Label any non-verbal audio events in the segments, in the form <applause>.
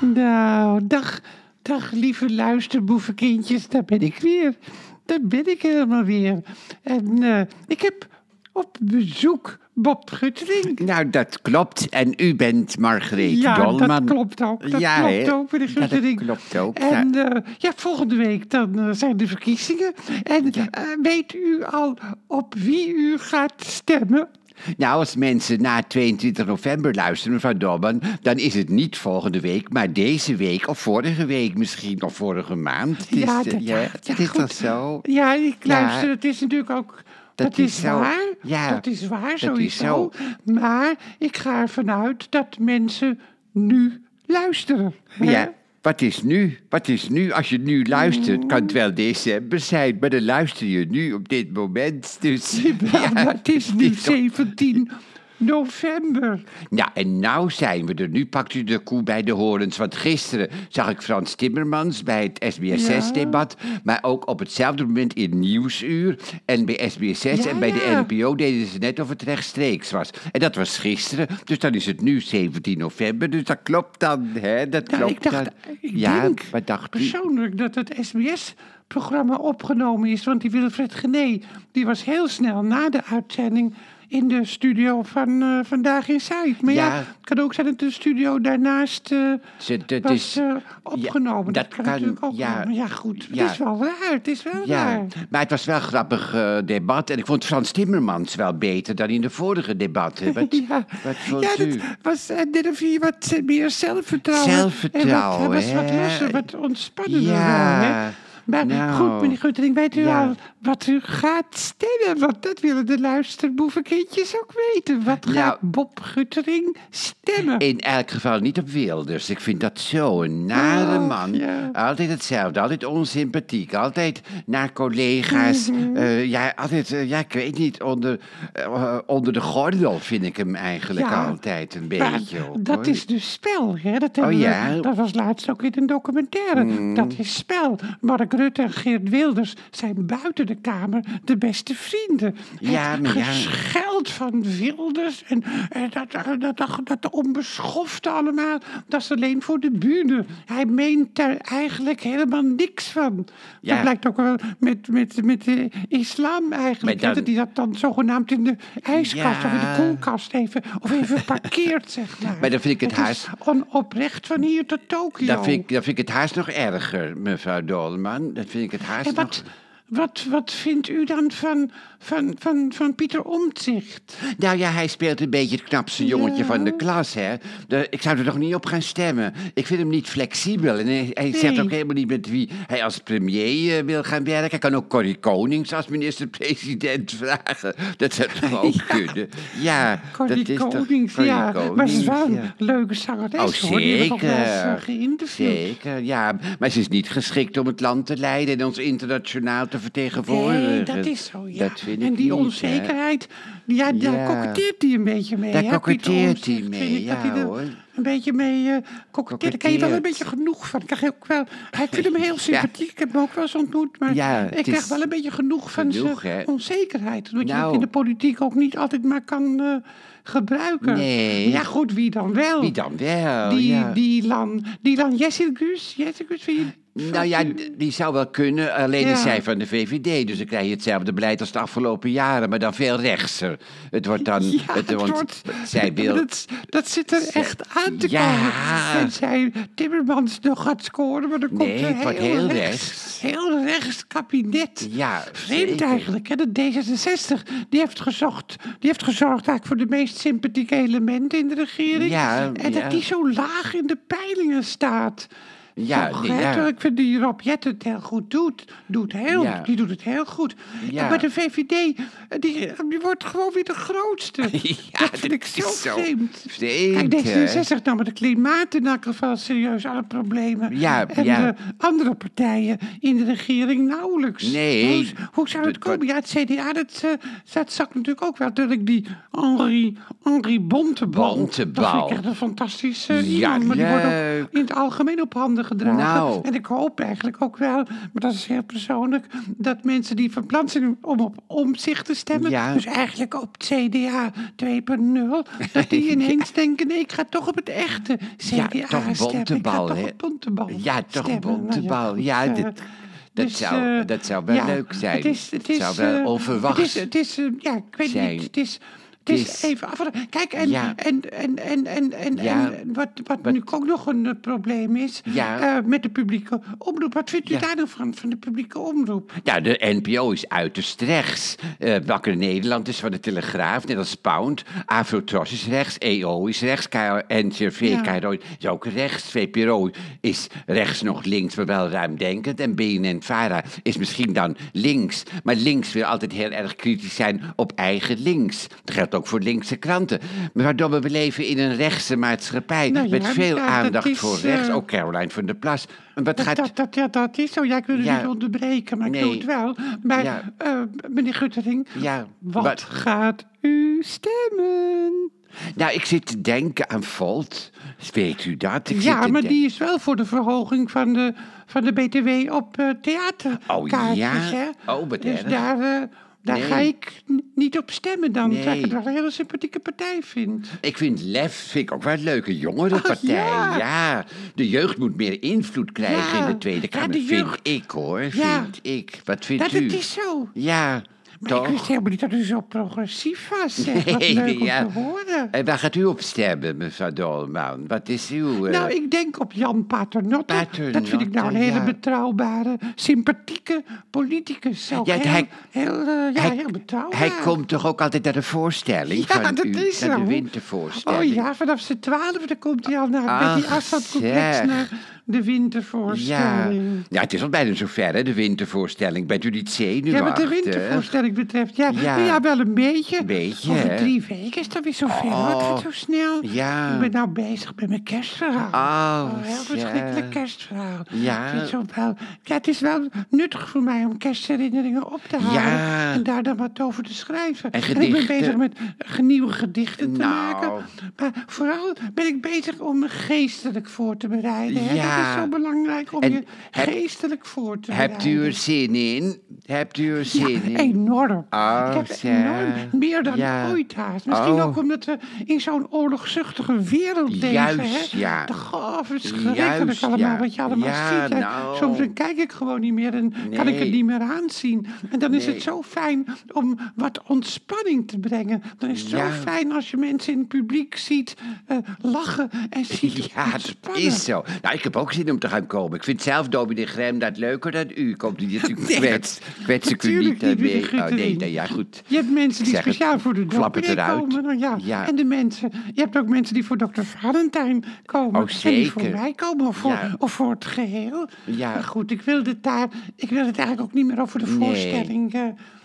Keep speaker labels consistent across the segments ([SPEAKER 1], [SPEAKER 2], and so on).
[SPEAKER 1] Nou, dag, dag lieve luisterboevenkindjes, daar ben ik weer. Daar ben ik helemaal weer. En eh, ik heb op bezoek Bob Guttering.
[SPEAKER 2] Nou, dat klopt. En u bent Margreet
[SPEAKER 1] Ja,
[SPEAKER 2] Dolman.
[SPEAKER 1] dat klopt ook. Dat
[SPEAKER 2] Ja,
[SPEAKER 1] klopt
[SPEAKER 2] hè?
[SPEAKER 1] ook, meneer
[SPEAKER 2] Ja, dat
[SPEAKER 1] Guttering.
[SPEAKER 2] klopt ook, ja.
[SPEAKER 1] En eh, ja, volgende week dan eh, zijn de verkiezingen. En eh, weet u al op wie u gaat stemmen?
[SPEAKER 2] Nou, als mensen na 22 november luisteren, mevrouw Dolman, dan is het niet volgende week, maar deze week of vorige week misschien, of vorige maand. Het is, eh,
[SPEAKER 1] dat-
[SPEAKER 2] ja, het is
[SPEAKER 1] goed.
[SPEAKER 2] toch zo?
[SPEAKER 1] Ja, ik
[SPEAKER 2] Ja.
[SPEAKER 1] luister, het is natuurlijk ook... Dat,
[SPEAKER 2] Dat
[SPEAKER 1] is,
[SPEAKER 2] is zo.
[SPEAKER 1] waar,
[SPEAKER 2] Ja,
[SPEAKER 1] dat is waar,
[SPEAKER 2] dat is
[SPEAKER 1] sowieso.
[SPEAKER 2] zo.
[SPEAKER 1] Maar ik ga ervan uit dat mensen nu luisteren. hè? <laughs>
[SPEAKER 2] Ja. Wat is nu? Wat is nu? Als je nu luistert, kan het wel december zijn, maar dan luister je nu op dit moment. Dus <laughs>
[SPEAKER 1] Ja, maar het is nu
[SPEAKER 2] toch-
[SPEAKER 1] 17 november.
[SPEAKER 2] Ja, en nou zijn we er. Nu pakt u de koe bij de horens. Want gisteren zag ik Frans Timmermans bij het SBS6-debat. Maar ook op hetzelfde moment in Nieuwsuur. En bij SBS6
[SPEAKER 1] Ja,
[SPEAKER 2] en bij
[SPEAKER 1] ja.
[SPEAKER 2] de NPO deden ze net of het rechtstreeks was. En dat was gisteren. Dus dan is het nu 17 november. Dus dat klopt dan, hè? Dat
[SPEAKER 1] Nou,
[SPEAKER 2] klopt
[SPEAKER 1] ik dacht,
[SPEAKER 2] dan.
[SPEAKER 1] ik
[SPEAKER 2] ja,
[SPEAKER 1] denk
[SPEAKER 2] wat dacht u?
[SPEAKER 1] persoonlijk dat het SBS-programma opgenomen is. Want die Wilfred Gené, die was heel snel na de uitzending in de studio van eh, Vandaag in Zuid. Maar ja,
[SPEAKER 2] Ja.
[SPEAKER 1] het kan ook zijn dat de studio daarnaast eh,
[SPEAKER 2] Ze- dat
[SPEAKER 1] was
[SPEAKER 2] is-
[SPEAKER 1] eh,
[SPEAKER 2] ja,
[SPEAKER 1] opgenomen. dat,
[SPEAKER 2] dat
[SPEAKER 1] kan,
[SPEAKER 2] kan,
[SPEAKER 1] natuurlijk ook
[SPEAKER 2] ja.
[SPEAKER 1] wel. Maar ja, goed, het
[SPEAKER 2] Ja.
[SPEAKER 1] is wel raar. Het is wel
[SPEAKER 2] Ja,
[SPEAKER 1] raar.
[SPEAKER 2] maar het was wel een grappig eh, debat. En ik vond Frans Timmermans wel beter dan in de vorige debatten. Wat,
[SPEAKER 1] <laughs> Ja,
[SPEAKER 2] wat vond
[SPEAKER 1] ja
[SPEAKER 2] u?
[SPEAKER 1] dat was eh, net of je wat meer zelfvertrouwen.
[SPEAKER 2] Zelfvertrouwen,
[SPEAKER 1] En wat, hij was wat
[SPEAKER 2] hè?
[SPEAKER 1] losser, wat ontspannender
[SPEAKER 2] Ja,
[SPEAKER 1] wel, hè? Maar
[SPEAKER 2] nou.
[SPEAKER 1] goed, meneer Guttering, weet u
[SPEAKER 2] Ja.
[SPEAKER 1] al wat u gaat stemmen? Want dat willen de luisterboevenkindjes ook weten. Wat gaat
[SPEAKER 2] Nou.
[SPEAKER 1] Bob Guttering stemmen?
[SPEAKER 2] In elk geval niet op Wilders. Ik vind dat zo'n nare
[SPEAKER 1] Oh,
[SPEAKER 2] man.
[SPEAKER 1] ja.
[SPEAKER 2] Altijd hetzelfde, altijd onsympathiek. Altijd naar collega's.
[SPEAKER 1] Mhm.
[SPEAKER 2] Eh, ja, altijd, eh, ja, ik weet niet, onder, eh, onder de gordel vind ik hem eigenlijk
[SPEAKER 1] Ja,
[SPEAKER 2] altijd een
[SPEAKER 1] Maar
[SPEAKER 2] beetje. ook,
[SPEAKER 1] dat
[SPEAKER 2] hoor. Oh
[SPEAKER 1] is dus spel. Hè? Dat, hebben we-
[SPEAKER 2] ja. Mm.
[SPEAKER 1] dat was laatst ook in een documentaire. Dat is spel. Mark Rutte en Geert Wilders zijn buiten de Kamer de beste vrienden.
[SPEAKER 2] Ja,
[SPEAKER 1] Het
[SPEAKER 2] maar ja.
[SPEAKER 1] gescheld van Wilders en, en dat, eh, dat, dat, dat onbeschofte allemaal, dat is alleen voor de bühne. Hij meent daar eigenlijk helemaal niks van. Dat
[SPEAKER 2] Ja.
[SPEAKER 1] blijkt ook wel met, met, met de islam eigenlijk.
[SPEAKER 2] Maar
[SPEAKER 1] hè,
[SPEAKER 2] dan-
[SPEAKER 1] Dat hij dat dan zogenaamd in de ijskast of in de
[SPEAKER 2] Ja.
[SPEAKER 1] koelkast kast even, of even parkeert,
[SPEAKER 2] <laughs>
[SPEAKER 1] zeg maar.
[SPEAKER 2] Maar dan vind ik het
[SPEAKER 1] is onoprecht van hier tot Tokio.
[SPEAKER 2] Dan vind, ik, dan vind ik het haast nog erger, mevrouw Dolman. Dat vind ik het haast
[SPEAKER 1] En wat,
[SPEAKER 2] nog...
[SPEAKER 1] wat, wat vindt u dan van, van, van, van Pieter Omtzigt?
[SPEAKER 2] Nou ja, hij speelt een beetje het knapste jongetje van de klas, hè. De- ik zou er toch niet op gaan stemmen. Ik vind hem niet flexibel. En hij, hij zegt
[SPEAKER 1] Nee.
[SPEAKER 2] ook helemaal niet met wie hij als premier eh, wil gaan werken. Hij kan ook Corrie Konings als minister-president <laughs> vragen. Dat zou toch ook kunnen? Ja, dat
[SPEAKER 1] Corrie
[SPEAKER 2] is toch-
[SPEAKER 1] Konings,
[SPEAKER 2] Corrie
[SPEAKER 1] ja. maar ze is wel een
[SPEAKER 2] Konings, ja.
[SPEAKER 1] leuke zangeres,
[SPEAKER 2] Oh,
[SPEAKER 1] hoor. Die hebben we toch wel eens, eh,
[SPEAKER 2] zeker.
[SPEAKER 1] geïnterviewd.
[SPEAKER 2] Zeker, ja. Maar ze is niet geschikt om het land te leiden en ons internationaal te vertegenwoordigen.
[SPEAKER 1] Nee, dat is zo, ja.
[SPEAKER 2] eh, Dat vind
[SPEAKER 1] en
[SPEAKER 2] ik
[SPEAKER 1] die
[SPEAKER 2] niet, hè.
[SPEAKER 1] onzekerheid, ja, daar
[SPEAKER 2] Ja.
[SPEAKER 1] koketteert hij een beetje mee.
[SPEAKER 2] Daar
[SPEAKER 1] hè, Pieter
[SPEAKER 2] koketteert hij
[SPEAKER 1] Omtzigt,
[SPEAKER 2] mee,
[SPEAKER 1] vind ik dat
[SPEAKER 2] ja,
[SPEAKER 1] hij er
[SPEAKER 2] hoor.
[SPEAKER 1] Een beetje mee eh koketteert. Daar krijg je wel een
[SPEAKER 2] Koketteert.
[SPEAKER 1] beetje genoeg van. Ik Krijg je ook wel, hij vindt hem
[SPEAKER 2] <laughs>
[SPEAKER 1] heel sympathiek, ik heb hem ook wel eens ontmoet. Maar
[SPEAKER 2] Ja,
[SPEAKER 1] ik
[SPEAKER 2] het
[SPEAKER 1] krijg
[SPEAKER 2] is
[SPEAKER 1] wel een beetje genoeg van
[SPEAKER 2] genoeg,
[SPEAKER 1] zijn
[SPEAKER 2] hè.
[SPEAKER 1] onzekerheid. Omdat je dat
[SPEAKER 2] Nou.
[SPEAKER 1] in de politiek ook niet altijd maar kan eh, gebruiken.
[SPEAKER 2] Nee.
[SPEAKER 1] Ja, goed, wie dan wel?
[SPEAKER 2] Wie dan wel,
[SPEAKER 1] Die,
[SPEAKER 2] ja.
[SPEAKER 1] die Lan, die Lan Jessicus, Jessicus, vind je...
[SPEAKER 2] Nou ja, d- die zou wel kunnen, alleen
[SPEAKER 1] Ja.
[SPEAKER 2] is zij van de VVD. Dus dan krijg je hetzelfde beleid als de afgelopen jaren, maar dan veel rechtser. Het wordt dan...
[SPEAKER 1] Ja,
[SPEAKER 2] het,
[SPEAKER 1] het
[SPEAKER 2] want
[SPEAKER 1] wordt- <laughs>
[SPEAKER 2] zij wil...
[SPEAKER 1] dat, dat zit er echt aan te
[SPEAKER 2] Ja.
[SPEAKER 1] komen. En zij Timmermans nog gaat scoren, maar dan komt
[SPEAKER 2] Nee,
[SPEAKER 1] er
[SPEAKER 2] het wordt
[SPEAKER 1] heel
[SPEAKER 2] heel
[SPEAKER 1] rechts,
[SPEAKER 2] rechts.
[SPEAKER 1] Heel rechts kabinet.
[SPEAKER 2] Ja,
[SPEAKER 1] Vreemd
[SPEAKER 2] zeker.
[SPEAKER 1] eigenlijk, hè? Dat D66, die heeft, gezocht, die heeft gezorgd eigenlijk voor de meest sympathieke elementen in de regering.
[SPEAKER 2] Ja,
[SPEAKER 1] en
[SPEAKER 2] ja.
[SPEAKER 1] dat die zo laag in de peilingen staat.
[SPEAKER 2] Ja,
[SPEAKER 1] Toch,
[SPEAKER 2] nee,
[SPEAKER 1] hè?
[SPEAKER 2] ja.
[SPEAKER 1] Terwijl Ik vind die Rob Jette het heel goed doet. doet heel,
[SPEAKER 2] Ja.
[SPEAKER 1] Die doet het heel goed.
[SPEAKER 2] Ja.
[SPEAKER 1] Maar de VVD, eh, die, die wordt gewoon weer de
[SPEAKER 2] <laughs>
[SPEAKER 1] grootste.
[SPEAKER 2] Ja,
[SPEAKER 1] dat vind ik zo
[SPEAKER 2] is zo
[SPEAKER 1] vreemd.
[SPEAKER 2] vreemd,
[SPEAKER 1] Kijk,
[SPEAKER 2] hè?
[SPEAKER 1] D66 nam met het klimaat in elk geval serieus alle problemen.
[SPEAKER 2] Ja,
[SPEAKER 1] en
[SPEAKER 2] ja.
[SPEAKER 1] de andere partijen in de regering nauwelijks.
[SPEAKER 2] Nee.
[SPEAKER 1] Hoe, hoe zou het
[SPEAKER 2] Dat- dat-
[SPEAKER 1] komen? Ja, het CDA, dat, eh, dat zakt natuurlijk ook wel. Natuurlijk die Henri, Henri Bontebal.
[SPEAKER 2] Bontebal.
[SPEAKER 1] Dat vind ik echt een fantastische
[SPEAKER 2] Ja,
[SPEAKER 1] iemand. Maar die wordt ook
[SPEAKER 2] leuk.
[SPEAKER 1] in het algemeen op handen handen gedragen.
[SPEAKER 2] Nou.
[SPEAKER 1] <laughs> En ik hoop eigenlijk ook wel, maar dat is heel persoonlijk, dat mensen die van plan zijn om op omzicht te stemmen,
[SPEAKER 2] Ja.
[SPEAKER 1] dus eigenlijk op het CDA
[SPEAKER 2] <laughs>
[SPEAKER 1] 2.0, dat die ineens denken, nee, ik ga toch op het echte CDA
[SPEAKER 2] Ja, toch
[SPEAKER 1] stemmen. Ik ga
[SPEAKER 2] bontebal,
[SPEAKER 1] toch
[SPEAKER 2] hè?
[SPEAKER 1] op bontebal
[SPEAKER 2] Ja, toch
[SPEAKER 1] stemmen. Nou
[SPEAKER 2] bontebal.
[SPEAKER 1] goed,
[SPEAKER 2] Ja,
[SPEAKER 1] eh,
[SPEAKER 2] dit- dat zou-
[SPEAKER 1] eh,
[SPEAKER 2] dat zou wel leuk zijn.
[SPEAKER 1] Het is, het
[SPEAKER 2] Het
[SPEAKER 1] is,
[SPEAKER 2] zou wel
[SPEAKER 1] eh,
[SPEAKER 2] onverwachts
[SPEAKER 1] Het is, het is eh, ja, ik weet
[SPEAKER 2] zijn.
[SPEAKER 1] niet. Het is, het is
[SPEAKER 2] is-
[SPEAKER 1] even afwachten. Kijk, en,
[SPEAKER 2] Ja.
[SPEAKER 1] en, en, en, en, en,
[SPEAKER 2] Ja.
[SPEAKER 1] en wat, wat, nu ook nog een eh, probleem is
[SPEAKER 2] Ja.
[SPEAKER 1] eh, met de publieke omroep. Wat vindt u
[SPEAKER 2] Ja.
[SPEAKER 1] daar nou van, van de publieke omroep?
[SPEAKER 2] Ja, de NPO is uiterst rechts. Eh Wakker Nederland is van de Telegraaf, net als Pound. Afrotros is rechts, EO is rechts, NCRV,
[SPEAKER 1] Ja.
[SPEAKER 2] KRO is ook rechts. VPRO is rechts nog links, maar wel ruimdenkend. En BNN-VARA is misschien dan links. Maar links wil altijd heel erg kritisch zijn op eigen links. Dat geldt ook voor linkse kranten. Maar waardoor we leven in een rechtse maatschappij...
[SPEAKER 1] Nou ja,
[SPEAKER 2] met veel
[SPEAKER 1] ja, dat
[SPEAKER 2] aandacht
[SPEAKER 1] is,
[SPEAKER 2] voor rechts.
[SPEAKER 1] eh,
[SPEAKER 2] Ook Caroline van der Plas. En Wat
[SPEAKER 1] Dat,
[SPEAKER 2] gaat...
[SPEAKER 1] dat, dat, ja, dat is zo. Ja, ik wil u
[SPEAKER 2] Ja.
[SPEAKER 1] niet onderbreken, maar ik doe
[SPEAKER 2] Nee.
[SPEAKER 1] het wel. Maar
[SPEAKER 2] Ja.
[SPEAKER 1] eh, meneer Guttering,
[SPEAKER 2] Ja,
[SPEAKER 1] wat,
[SPEAKER 2] wat-
[SPEAKER 1] gaat u stemmen?
[SPEAKER 2] Nou, ik zit te denken aan Volt. Weet u dat? Ik zit
[SPEAKER 1] Ja,
[SPEAKER 2] te
[SPEAKER 1] maar
[SPEAKER 2] denken-
[SPEAKER 1] die is wel voor de verhoging van de, van de BTW op eh
[SPEAKER 2] Oh,
[SPEAKER 1] theaterkaartjes.
[SPEAKER 2] ja?
[SPEAKER 1] Hè?
[SPEAKER 2] Oh, wat
[SPEAKER 1] dus
[SPEAKER 2] erg.
[SPEAKER 1] daar, eh, daar
[SPEAKER 2] Nee.
[SPEAKER 1] ga ik n- niet op stemmen dan, terwijl ik
[SPEAKER 2] Nee.
[SPEAKER 1] het wel een hele sympathieke partij vind.
[SPEAKER 2] Ik vind LEF vind ik ook wel een leuke jongerenpartij.
[SPEAKER 1] ja.
[SPEAKER 2] ja. de jeugd moet meer invloed krijgen
[SPEAKER 1] Ja.
[SPEAKER 2] in de Tweede
[SPEAKER 1] Ja,
[SPEAKER 2] Kamer.
[SPEAKER 1] de jeugd.
[SPEAKER 2] Vind ik hoor,
[SPEAKER 1] Ja.
[SPEAKER 2] vind ik. Wat vindt
[SPEAKER 1] Dat
[SPEAKER 2] u?
[SPEAKER 1] het is zo.
[SPEAKER 2] Ja,
[SPEAKER 1] Maar ik wist
[SPEAKER 2] toch?
[SPEAKER 1] helemaal niet dat u zo progressief was. Zeg. Wat
[SPEAKER 2] Nee,
[SPEAKER 1] leuk om
[SPEAKER 2] ja.
[SPEAKER 1] te horen.
[SPEAKER 2] En waar gaat u op stemmen, mevrouw Dolman? Wat is uw... eh,
[SPEAKER 1] Nou, ik denk op Jan Paternotte. Dat vind ik nou een
[SPEAKER 2] Paternotte,
[SPEAKER 1] hele
[SPEAKER 2] ja.
[SPEAKER 1] betrouwbare, sympathieke politicus. Ook
[SPEAKER 2] Ja,
[SPEAKER 1] heel,
[SPEAKER 2] hij-
[SPEAKER 1] heel, eh, ja,
[SPEAKER 2] hij-
[SPEAKER 1] heel betrouwbaar.
[SPEAKER 2] Hij komt toch ook altijd naar de voorstelling
[SPEAKER 1] Ja,
[SPEAKER 2] van
[SPEAKER 1] dat
[SPEAKER 2] u,
[SPEAKER 1] is
[SPEAKER 2] naar
[SPEAKER 1] zo.
[SPEAKER 2] de wintervoorstelling.
[SPEAKER 1] Oh ja, vanaf zijn twaalfde komt hij al naar met die
[SPEAKER 2] Ach,
[SPEAKER 1] afstandscomplex
[SPEAKER 2] zeg.
[SPEAKER 1] naar de
[SPEAKER 2] Ja.
[SPEAKER 1] wintervoorstelling.
[SPEAKER 2] ja, het is al bijna zover, hè, de wintervoorstelling. Bent u niet zenuwachtig?
[SPEAKER 1] Ja, wat de wintervoorstelling betreft. Ja,
[SPEAKER 2] Ja.
[SPEAKER 1] nou ja wel een beetje.
[SPEAKER 2] Beetje,
[SPEAKER 1] Over
[SPEAKER 2] hè?
[SPEAKER 1] drie weken is dat weer zover. Wat
[SPEAKER 2] Oh.
[SPEAKER 1] gaat zo snel?
[SPEAKER 2] Ja.
[SPEAKER 1] Ik ben nou bezig met mijn kerstverhaal.
[SPEAKER 2] Oh,
[SPEAKER 1] heel
[SPEAKER 2] zeg.
[SPEAKER 1] verschrikkelijk kerstverhaal.
[SPEAKER 2] Ja.
[SPEAKER 1] Ik vind zo wel, ja, het is wel nuttig voor mij om kerstherinneringen op te halen.
[SPEAKER 2] Ja.
[SPEAKER 1] En daar dan wat over te schrijven.
[SPEAKER 2] En
[SPEAKER 1] ik ben
[SPEAKER 2] gedichten.
[SPEAKER 1] bezig met eh, nieuwe gedichten te
[SPEAKER 2] Nou.
[SPEAKER 1] maken. Maar vooral ben ik bezig om me geestelijk voor te bereiden. hè. Dat
[SPEAKER 2] Ja.
[SPEAKER 1] is zo belangrijk om
[SPEAKER 2] En
[SPEAKER 1] je
[SPEAKER 2] heb-
[SPEAKER 1] geestelijk voor te
[SPEAKER 2] Hebt
[SPEAKER 1] bereiden.
[SPEAKER 2] u er zin in? Hebt u er
[SPEAKER 1] Ja,
[SPEAKER 2] zin in?
[SPEAKER 1] enorm.
[SPEAKER 2] Oh,
[SPEAKER 1] ik heb
[SPEAKER 2] zeg.
[SPEAKER 1] enorm meer dan
[SPEAKER 2] Ja.
[SPEAKER 1] ooit haast. Misschien
[SPEAKER 2] Oh.
[SPEAKER 1] ook omdat we in zo'n oorlogzuchtige wereld leven.
[SPEAKER 2] Juist,
[SPEAKER 1] hè?
[SPEAKER 2] ja.
[SPEAKER 1] De goh, verschrikkelijk
[SPEAKER 2] Juist,
[SPEAKER 1] allemaal
[SPEAKER 2] ja.
[SPEAKER 1] wat je allemaal
[SPEAKER 2] Ja,
[SPEAKER 1] ziet. hè.
[SPEAKER 2] nou.
[SPEAKER 1] Soms dan kijk ik gewoon niet meer en kan ik het
[SPEAKER 2] Nee.
[SPEAKER 1] niet meer aanzien. En dan is
[SPEAKER 2] Nee.
[SPEAKER 1] het zo fijn om wat ontspanning te brengen. Dan is het
[SPEAKER 2] Ja.
[SPEAKER 1] zo fijn als je mensen in het publiek ziet eh, lachen en ziet
[SPEAKER 2] <laughs> Ja, dat
[SPEAKER 1] ontspannen.
[SPEAKER 2] is zo. Nou, ik heb ook zin om te gaan komen. Ik vind zelf dominee Grem dat leuker dan u. Komt u
[SPEAKER 1] <laughs>
[SPEAKER 2] natuurlijk
[SPEAKER 1] Nee,
[SPEAKER 2] kwets. Kwets ik u
[SPEAKER 1] natuurlijk
[SPEAKER 2] niet
[SPEAKER 1] niet, meneer
[SPEAKER 2] daarmee. Oh, nee,
[SPEAKER 1] Gutterin.
[SPEAKER 2] nee, ja, goed.
[SPEAKER 1] Je hebt mensen
[SPEAKER 2] Ik
[SPEAKER 1] die
[SPEAKER 2] zeg het,
[SPEAKER 1] speciaal voor de
[SPEAKER 2] flap het
[SPEAKER 1] dominee
[SPEAKER 2] eruit.
[SPEAKER 1] komen. nou ja.
[SPEAKER 2] Ja.
[SPEAKER 1] En de mensen, je hebt ook mensen die voor dokter Valentijn komen.
[SPEAKER 2] Oh,
[SPEAKER 1] En die voor
[SPEAKER 2] zeker.
[SPEAKER 1] mij komen of voor,
[SPEAKER 2] Ja.
[SPEAKER 1] of voor het geheel.
[SPEAKER 2] Ja.
[SPEAKER 1] Maar goed, ik wilde het daar, ik wilde het eigenlijk ook niet meer over de
[SPEAKER 2] Nee.
[SPEAKER 1] voorstelling eh,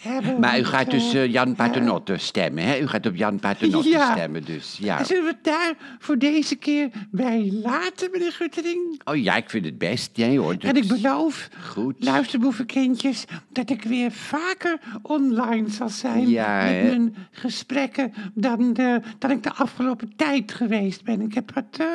[SPEAKER 1] hebben.
[SPEAKER 2] Maar u
[SPEAKER 1] want,
[SPEAKER 2] gaat dus
[SPEAKER 1] eh,
[SPEAKER 2] eh, Jan Paternotte stemmen, hè? U gaat op Jan Paternotte
[SPEAKER 1] Ja.
[SPEAKER 2] stemmen, dus ja.
[SPEAKER 1] Zullen we het daar voor deze keer bij laten, meneer Guttering?
[SPEAKER 2] Oh ja, ik vind het best. Nee hoor.
[SPEAKER 1] En
[SPEAKER 2] dat-
[SPEAKER 1] ik beloof,
[SPEAKER 2] Goed.
[SPEAKER 1] luisterboevenkindjes, dat ik weer vaker online zal zijn
[SPEAKER 2] Ja,
[SPEAKER 1] met
[SPEAKER 2] hè?
[SPEAKER 1] mijn gesprekken dan, de, dan ik de afgelopen tijd geweest ben. Ik heb het, eh,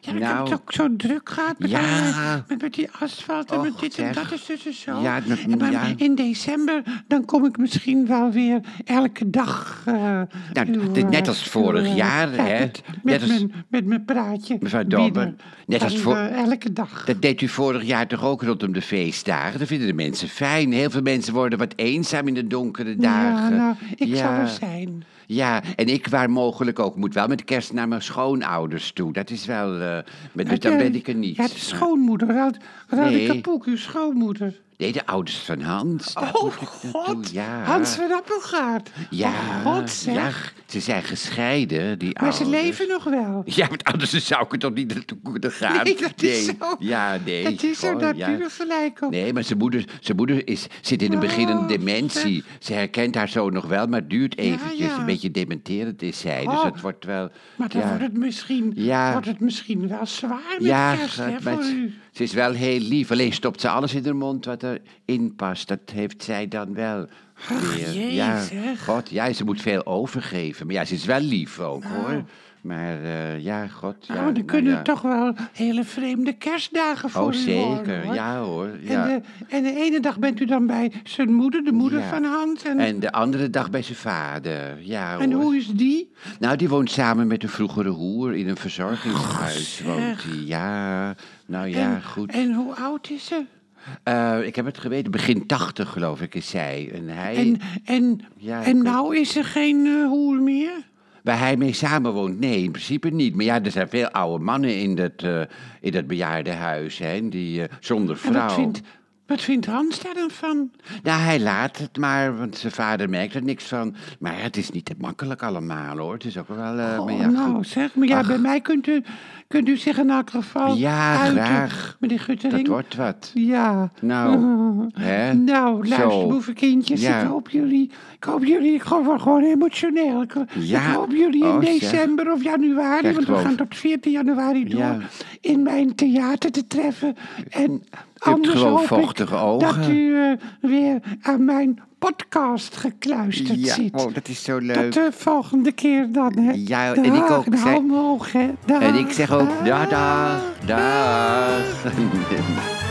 [SPEAKER 1] ja, ik heb
[SPEAKER 2] Nou.
[SPEAKER 1] het ook zo druk gehad met,
[SPEAKER 2] Ja.
[SPEAKER 1] allerlei- met, met die asfalt en
[SPEAKER 2] Och,
[SPEAKER 1] met dit en
[SPEAKER 2] zeg.
[SPEAKER 1] dat is dus en zo.
[SPEAKER 2] Ja, dat-
[SPEAKER 1] En maar
[SPEAKER 2] ja.
[SPEAKER 1] in december, dan kom ik misschien wel weer elke dag. eh,
[SPEAKER 2] Nou,
[SPEAKER 1] uw,
[SPEAKER 2] dit- net
[SPEAKER 1] eh,
[SPEAKER 2] als vorig
[SPEAKER 1] uw, eh,
[SPEAKER 2] jaar,
[SPEAKER 1] ja,
[SPEAKER 2] hè?
[SPEAKER 1] Met, met,
[SPEAKER 2] Net als-
[SPEAKER 1] mijn, met mijn praatje.
[SPEAKER 2] Mevrouw
[SPEAKER 1] binnen.
[SPEAKER 2] Dalman, net als
[SPEAKER 1] Dan,
[SPEAKER 2] voor-
[SPEAKER 1] eh, elke dag.
[SPEAKER 2] Dat deed u vorig jaar toch ook rondom de feestdagen? Dat vinden de mensen fijn. Heel veel mensen worden wat eenzaam in de donkere dagen.
[SPEAKER 1] Ja, nou, ik
[SPEAKER 2] Ja. Dus
[SPEAKER 1] zal er zijn.
[SPEAKER 2] Ja, en ik waar mogelijk ook. Moet wel met kerst naar mijn schoonouders toe. Dat is wel... eh, met, dus dan
[SPEAKER 1] Ja,
[SPEAKER 2] ben ik er niet.
[SPEAKER 1] Ja, dus- de schoonmoeder. Raad, raad
[SPEAKER 2] Nee.
[SPEAKER 1] Kapoek, uw schoonmoeder.
[SPEAKER 2] Nee, de ouders van Hans. daar
[SPEAKER 1] oh,
[SPEAKER 2] moet ik naartoe.
[SPEAKER 1] god.
[SPEAKER 2] Ja.
[SPEAKER 1] Hans van Appelgaard.
[SPEAKER 2] Ja.
[SPEAKER 1] Oh, god zeg.
[SPEAKER 2] Ja, oh, dus- ze zijn gescheiden, die
[SPEAKER 1] maar
[SPEAKER 2] ouders.
[SPEAKER 1] ze leven nog wel.
[SPEAKER 2] Ja, want anders zou ik er toch niet naartoe kunnen gaan.
[SPEAKER 1] Nee, dat is zo.
[SPEAKER 2] Ja, nee.
[SPEAKER 1] Dat is zo,
[SPEAKER 2] gewoon,
[SPEAKER 1] daar
[SPEAKER 2] ja.
[SPEAKER 1] heb je nog gelijk op.
[SPEAKER 2] Nee, maar zijn moeder, zijn moeder is, zit in een beginnende
[SPEAKER 1] Oh,
[SPEAKER 2] dementie. Ze herkent haar zoon nog wel, maar het duurt eventjes.
[SPEAKER 1] ja.
[SPEAKER 2] Een beetje dementerend is zij. Dus
[SPEAKER 1] Oh.
[SPEAKER 2] het wordt wel...
[SPEAKER 1] Maar dan
[SPEAKER 2] ja.
[SPEAKER 1] wordt, het misschien,
[SPEAKER 2] Ja.
[SPEAKER 1] wordt het misschien wel zwaar met
[SPEAKER 2] Ja,
[SPEAKER 1] kerst,
[SPEAKER 2] gaat
[SPEAKER 1] hè,
[SPEAKER 2] met-
[SPEAKER 1] voor u.
[SPEAKER 2] ze is wel heel lief. Alleen stopt ze alles in haar mond wat er erin past. Dat heeft zij dan wel.
[SPEAKER 1] Ach,
[SPEAKER 2] weer.
[SPEAKER 1] jee,
[SPEAKER 2] ja,
[SPEAKER 1] zeg.
[SPEAKER 2] God, ja, ze moet veel overgeven. Maar ja, ze is wel lief ook, hoor. Maar eh, ja, god. Ja,
[SPEAKER 1] Nou, Ah. dan
[SPEAKER 2] nou
[SPEAKER 1] kunnen
[SPEAKER 2] ja.
[SPEAKER 1] toch wel hele vreemde kerstdagen voor
[SPEAKER 2] Oh,
[SPEAKER 1] u worden,
[SPEAKER 2] zeker.
[SPEAKER 1] hoor.
[SPEAKER 2] Ja, hoor. Ja.
[SPEAKER 1] En, de, en de ene dag bent u dan bij zijn moeder, de moeder
[SPEAKER 2] Ja.
[SPEAKER 1] van Hans. En, en,
[SPEAKER 2] En de andere dag bij zijn vader. Ja, hoor.
[SPEAKER 1] hoe is die?
[SPEAKER 2] Nou, die woont samen met een vroegere hoer in een verzorgingshuis. woont die. Ja, nou ja,
[SPEAKER 1] en,
[SPEAKER 2] goed.
[SPEAKER 1] En hoe oud is ze?
[SPEAKER 2] Eh, ik heb het geweten, begin tachtig geloof ik is zij. En hij,
[SPEAKER 1] En, en,
[SPEAKER 2] Ja, ik
[SPEAKER 1] en
[SPEAKER 2] weet-
[SPEAKER 1] nou is er geen eh, hoer meer?
[SPEAKER 2] waar hij mee samenwoont, nee, in principe niet. Maar ja, er zijn veel oude mannen in dat, eh, in dat bejaardenhuis, hè, die eh, zonder
[SPEAKER 1] En
[SPEAKER 2] vrouw.
[SPEAKER 1] wat vindt, wat vindt Hans daar dan van?
[SPEAKER 2] Nou, hij laat het maar, want zijn vader merkt er niks van. Maar het is niet te makkelijk allemaal, hoor. Het is ook wel... eh, maar
[SPEAKER 1] Oh,
[SPEAKER 2] ja,
[SPEAKER 1] nou,
[SPEAKER 2] goed.
[SPEAKER 1] zeg, maar ja,
[SPEAKER 2] Ach.
[SPEAKER 1] bij mij kunt u, kunt u zich in elk geval
[SPEAKER 2] Ja,
[SPEAKER 1] uiten,
[SPEAKER 2] graag.
[SPEAKER 1] meneer
[SPEAKER 2] dat
[SPEAKER 1] Guttering.
[SPEAKER 2] wordt wat.
[SPEAKER 1] Ja. <laughs>
[SPEAKER 2] Nou, hè?
[SPEAKER 1] Nou,
[SPEAKER 2] Zo.
[SPEAKER 1] luister, boevenkindjes,
[SPEAKER 2] Ja.
[SPEAKER 1] ik hoop jullie, ik hoop jullie, ik hoop wel gewoon emotioneel. Ik,
[SPEAKER 2] Ja.
[SPEAKER 1] ik hoop jullie in
[SPEAKER 2] Oh, zeg.
[SPEAKER 1] december of januari,
[SPEAKER 2] Echt
[SPEAKER 1] want we
[SPEAKER 2] wel.
[SPEAKER 1] gaan tot 14 januari door,
[SPEAKER 2] Ja.
[SPEAKER 1] in mijn theater te treffen. En
[SPEAKER 2] hebt
[SPEAKER 1] anders
[SPEAKER 2] gewoon
[SPEAKER 1] hoop
[SPEAKER 2] vochtige
[SPEAKER 1] ik
[SPEAKER 2] ogen.
[SPEAKER 1] dat u eh, weer aan mijn podcast gekluisterd
[SPEAKER 2] Ja,
[SPEAKER 1] zit.
[SPEAKER 2] oh, dat is zo leuk.
[SPEAKER 1] tot de volgende keer dan, hè.
[SPEAKER 2] Ja, en ik
[SPEAKER 1] Dag,
[SPEAKER 2] ook,
[SPEAKER 1] hou
[SPEAKER 2] zei-
[SPEAKER 1] eh, omhoog, hè.
[SPEAKER 2] En ik zeg ook,
[SPEAKER 1] Dag. <laughs>
[SPEAKER 2] dag, dag, dag.